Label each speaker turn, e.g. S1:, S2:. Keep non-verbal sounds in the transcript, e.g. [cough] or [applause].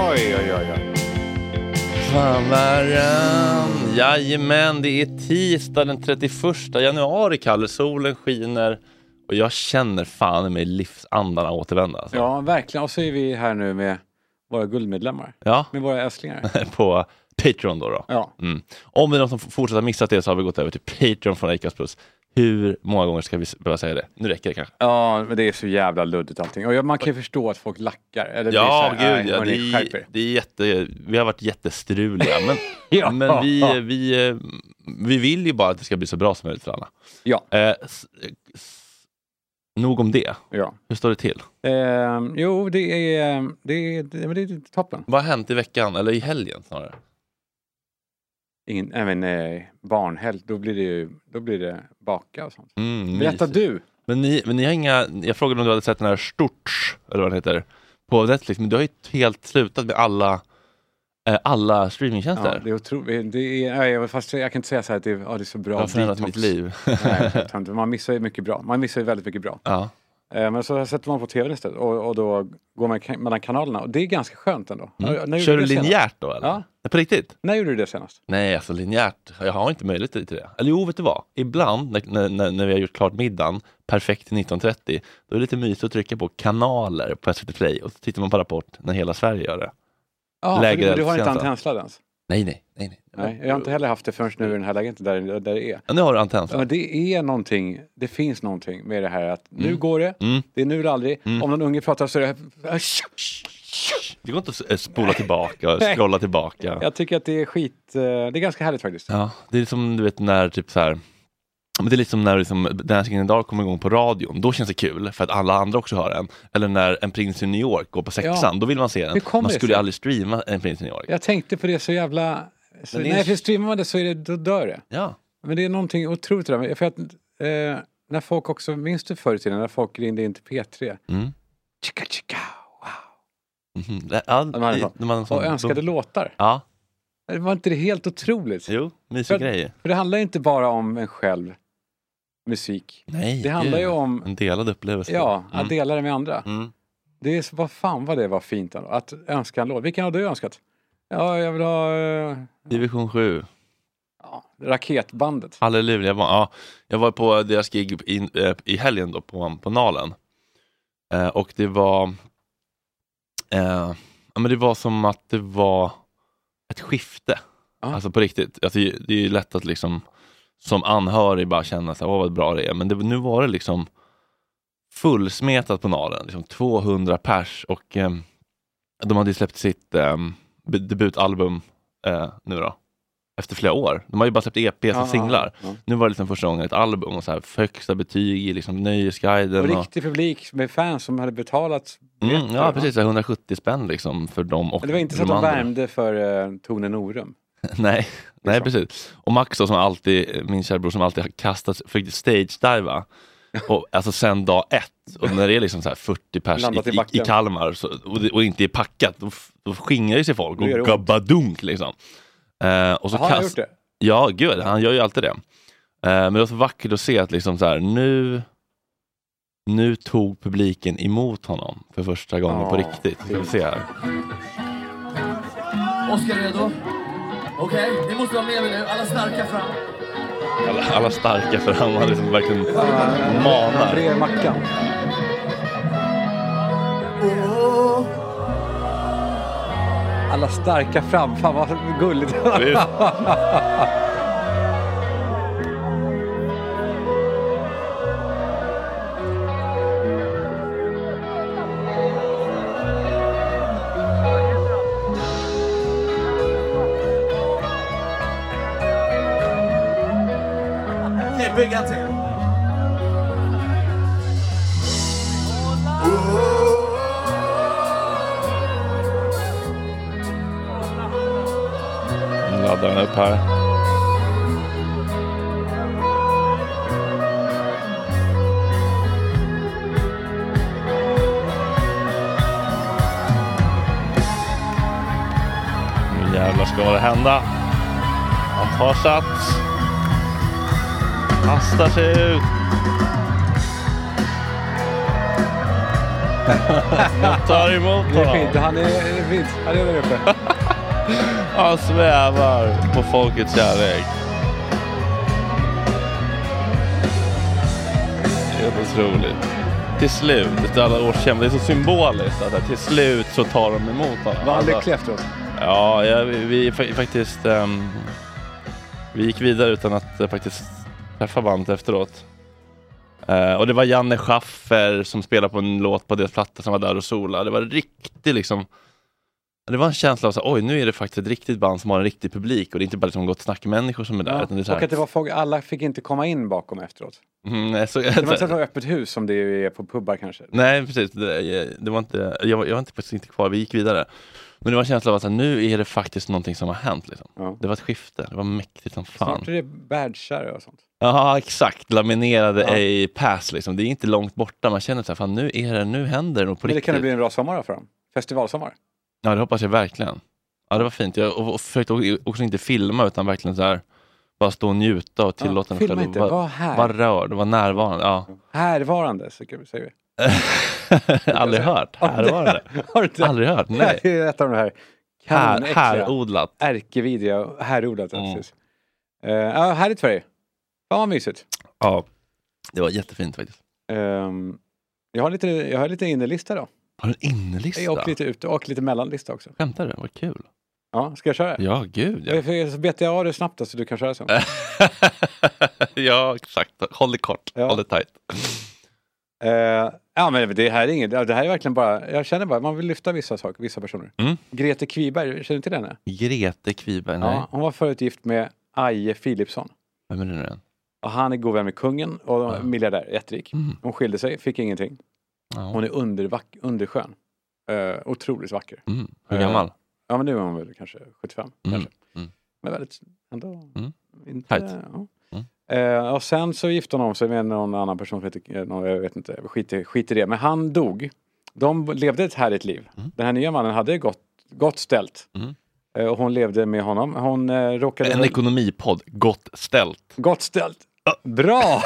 S1: oj, oj, oj. oj.
S2: Varann. Jajamän, det är tisdag den 31 januari, Kalle. Solen skiner och jag känner fan i mig livsandarna återvända. Alltså.
S1: Ja, verkligen. Och så är vi här nu med våra guldmedlemmar.
S2: Ja. Mm.
S1: Med våra
S2: [laughs]
S1: äslingar.
S2: på Patreon då. då.
S1: Ja.
S2: Mm. Om det är någon som f- fortsätter missat det så har vi gått över till Patreon från Acast Plus. Hur många gånger ska vi s- behöva säga det? Nu räcker det kanske.
S1: Ja, men det är så jävla luddigt allting. Och jag- man kan ju förstå att folk lackar. Eller blir
S2: Ja,
S1: så
S2: gud
S1: här, "Aj,
S2: ja. Det
S1: hörni, skärp
S2: är, [laughs]
S1: er."
S2: det är jätte, vi har varit jättestruliga, men,
S1: [laughs] Ja.
S2: men vi, vi, eh, vi vill ju bara att det ska bli så bra som möjligt för alla.
S1: Ja,
S2: Eh, s, s, nog om det.
S1: ja.
S2: Hur står det till?
S1: Ehm, jo, det är, det, är, det, men det är toppen.
S2: Vad har hänt i veckan, eller i helgen snarare?
S1: Ingen, nej, men, eh, barnhelg, då blir det ju då blir det baka och sånt.
S2: Mm,
S1: Berätta
S2: mysigt.
S1: du!
S2: Men ni, men ni har inga, jag frågade om du hade sett den här Storts, eller vad den heter, på Netflix, men du har ju helt slutat med alla, eh, alla
S1: Ja,
S2: streamingtjänster.
S1: det är otroligt. Det är, nej, jag- fast jag kan inte säga så här att det, är- ja, det är så bra
S2: jag har förändrat
S1: detox.
S2: mitt liv. [laughs]
S1: Nej, jag tror inte. man missar ju mycket bra. Man missar ju väldigt mycket bra.
S2: ja.
S1: Eh, Men så sätter man på tvn istället och, och då går man ka- mellan kanalerna och det är ganska skönt ändå. När- när gjorde
S2: Mm. Kör du
S1: det senast?
S2: linjärt då eller?
S1: Ja.
S2: Nej, På riktigt?
S1: När gjorde du det senast?
S2: Nej, alltså linjärt, jag har inte möjlighet till det. Eller jo, vet du vad? Ibland när- när, när, när vi har gjort klart middagen, perfekt till 19.30, då är det lite mysigt att trycka på kanaler på SVT Play och så tittar man på Rapport när hela Sverige gör det.
S1: Ja, för
S2: Lägre
S1: du, du har inte
S2: känsla.
S1: antennsladd ens?
S2: Nej, nej, nej. nej.
S1: Nej, jag har inte heller haft det förrän nu i den här lägenheten där, där det är.
S2: Ja, nu har du antenn.
S1: Ja, men det är någonting, det finns någonting med det här att nu går det,
S2: Mm.
S1: det är nu eller aldrig. Om någon unge pratar så är det...
S2: Det går inte att s- spola tillbaka, och scrolla tillbaka.
S1: Jag tycker att det är skit, eh, det är ganska härligt faktiskt.
S2: Ja, det är som du vet när typ så här men det är lite som när liksom, Dancing in the dark kommer igång på radion. Då känns det kul för att alla andra också hör den. Eller när En prins i New York går på sexan.
S1: Ja.
S2: Då vill man se den.
S1: Hur kommer
S2: Man
S1: det
S2: skulle ju
S1: sig?
S2: aldrig streama En prins i New York.
S1: Jag tänkte på det så jävla... Så,
S2: Men det är-
S1: Nej, för streamar man det så är det, då dör det.
S2: Ja.
S1: Men det är någonting otroligt det där. För att, eh, när folk också, minns du förr i tiden när folk ringde in till P3?
S2: Mm.
S1: Chika, chika, wow.
S2: Mhm. Det- ja,
S1: man hade
S2: i-
S1: sån-
S2: när man har en sån-
S1: Och önskade låtar.
S2: Ja,
S1: Det var inte det helt otroligt?
S2: jo,
S1: För-
S2: mysig grej.
S1: För det handlar inte bara om en själv, musik.
S2: Nej,
S1: Det handlar ju
S2: gud.
S1: om-
S2: En delad upplevelse.
S1: Ja, att
S2: mm.
S1: dela det med andra.
S2: Mm.
S1: Det är, så- vad fan vad det var fint ändå, att önska en låt. Vilken har du önskat? Ja, jag vill ha eh,
S2: Division 7.
S1: ja, Raketbandet.
S2: Halleluja. Jag var, ja, jag var på deras gig i, eh, i helgen då på, på Nalen. Eh, och det var eh, ja, men det var som att det var ett skifte.
S1: Ja.
S2: Alltså på riktigt. Alltså, det det är ju lätt att liksom som anhörig bara känna så här, åh vad bra det är. Men det, nu var det liksom fullsmetat på Nalen. Liksom 200 pers och ehm, de hade ju släppt sitt ehm, be- debutalbum eh, nu då. Efter flera år. De har ju bara släppt EPs och
S1: Ja,
S2: singlar.
S1: ja, ja.
S2: Nu var det liksom första gången ett album och så här högsta betyg i liksom Nöjesguiden.
S1: Och
S2: och-
S1: riktig publik med fans som hade betalat
S2: Mm,
S1: biljetter,
S2: ja,
S1: va?
S2: precis. så här 170 spänn liksom för dem. Och
S1: Men det var inte så att de
S2: andra.
S1: värmde för eh, Tone Norum.
S2: [laughs] Nej,
S1: Liksom.
S2: nej, precis. Och Max då, som alltid, min kära bror som alltid har kastat, fick
S1: [laughs]
S2: stage-diva. Och, alltså sen dag ett, och när det är liksom så här 40 pers
S1: Landat
S2: i,
S1: i
S2: i,
S1: backen.
S2: i Kalmar så, och, det, och inte är packat, då, f- då skingrar ju sig folk
S1: Då gör det
S2: och
S1: ont.
S2: gabbadunk liksom. Eh, och så
S1: Har han
S2: kast-
S1: gjort det?
S2: Ja, gud, han gör ju alltid det. Eh, men det var så vackert att se att liksom så här, nu, nu tog publiken emot honom för första gången på
S1: Ja,
S2: riktigt. Ska vi se här.
S3: Oskar redo? Okej, ni måste vara med mig nu. Alla starka fram.
S2: Alla, alla starka för han var liksom verkligen manar.
S1: Bredvid Mackan.
S3: Oh.
S1: alla starka fram. Fan vad gulligt.
S2: Visst.
S3: Okej, bygg en till.
S2: Nu laddar den upp här. Nu jävlar ska det hända. Han tar sats. Kastar sig ut. Jag tar emot
S1: Det är fint.
S2: honom.
S1: Han är, det är fint. Han är där uppe.
S2: Han svävar på folkets kärlek. Helt otroligt. Till slut, efter alla års kämpa, det är så symboliskt att här, till slut så tar de emot honom.
S1: Var han
S2: Alla-
S1: lycklig efteråt?
S2: Ja, jag, vi fa- faktiskt... ehm, vi gick vidare utan att eh, faktiskt träffa bandet efteråt. Eh, och det var Janne Schaffer som spelade på en låt på deras platta som var där och sola. Det var riktigt liksom... Det var en känsla av så här, oj nu är det faktiskt ett riktigt band som har en riktig publik och det är inte bara liksom gott snack-människor som är där. utan det är så
S1: och
S2: här,
S1: att det var folk, alla fick inte komma in bakom efteråt.
S2: Mm, nej, så,
S1: Det var inte så att det var öppet hus som det är på pubbar kanske.
S2: [laughs] Nej, precis. Det, det var inte, jag, var- jag var inte, faktiskt inte kvar, vi gick vidare. Men det var en känsla av att så här, nu är det faktiskt någonting som har hänt. Liksom.
S1: Ja.
S2: Det var ett skifte, det var mäktigt som fan.
S1: Snart är det badgar och sånt.
S2: Ja, exakt. Laminerade
S1: Ja.
S2: i pass liksom. Det är inte långt borta. Man känner så här, fan nu är det, nu händer det nog på
S1: Men det
S2: riktigt.
S1: kan det bli en bra sommar då för dem. Festivalsommar.
S2: Ja, det hoppas jag verkligen. Ja, det var fint. Jag och, och försökte o- också inte filma utan verkligen så här, bara stå och njuta och tillåta mig
S1: filma
S2: själv att
S1: inte,
S2: vara-
S1: var här.
S2: Vara rörd och vara närvarande. Ja. [laughs]
S1: Härvarande, så kan vi- säger vi.
S2: Aldrig hört. Här var det.
S1: [laughs] Har du inte?
S2: Aldrig hört. Nej.
S1: [laughs] Det är ett av de här
S2: Här, här
S1: kanonäckliga,
S2: odlat.
S1: ärkevidriga, härodlat. ja,
S2: Mm.
S1: precis. Eh, Ja, härligt för dig. Fan vad mysigt.
S2: Ja, det var jättefint faktiskt.
S1: Ehm, jag har lite, jag har lite innerlista då.
S2: Har du en innelista?
S1: Och lite ute och lite mellanlista också.
S2: Skämtar du? Vad kul.
S1: Ja, ska jag köra?
S2: Ja, Äh. gud ja.
S1: Ja. Så betar jag av det snabbt då, så du kan köra sen.
S2: [laughs] ja, exakt. Håll det kort.
S1: Ja.
S2: Håll det tight.
S1: Eh, ja, men det här är inget, det här är verkligen bara, jag känner bara, man vill lyfta vissa saker, vissa personer.
S2: Mm.
S1: Grete Kviberg, känner du till henne?
S2: Grete Kviberg, nej.
S1: Ja, hon var förut gift med Aje Philipsson.
S2: Vem är det nu igen?
S1: Och han är god vän med kungen och
S2: Ja.
S1: miljardär, jätterik.
S2: Mm.
S1: Hon skilde sig, fick ingenting.
S2: Ja.
S1: Hon är undervack, underskön. Eh, otroligt vacker.
S2: Mm. Hur gammal?
S1: Ja, men nu är hon väl kanske 75.
S2: Mm.
S1: Kanske.
S2: Mm.
S1: Men väldigt, ändå.
S2: Mm.
S1: Inte,
S2: Tajt.
S1: ja. Eh, och sen så gifte hon om sig med någon annan person som heter, eh, någon, jag vet inte, skit i, skit i det. Men han dog. De levde ett härligt liv. Den här nya mannen hade gott, gott ställt.
S2: Mm.
S1: Eh, och hon levde med honom. Hon eh, råkade...
S2: En ekonomipodd, gott ställt.
S1: Gott ställt. Bra!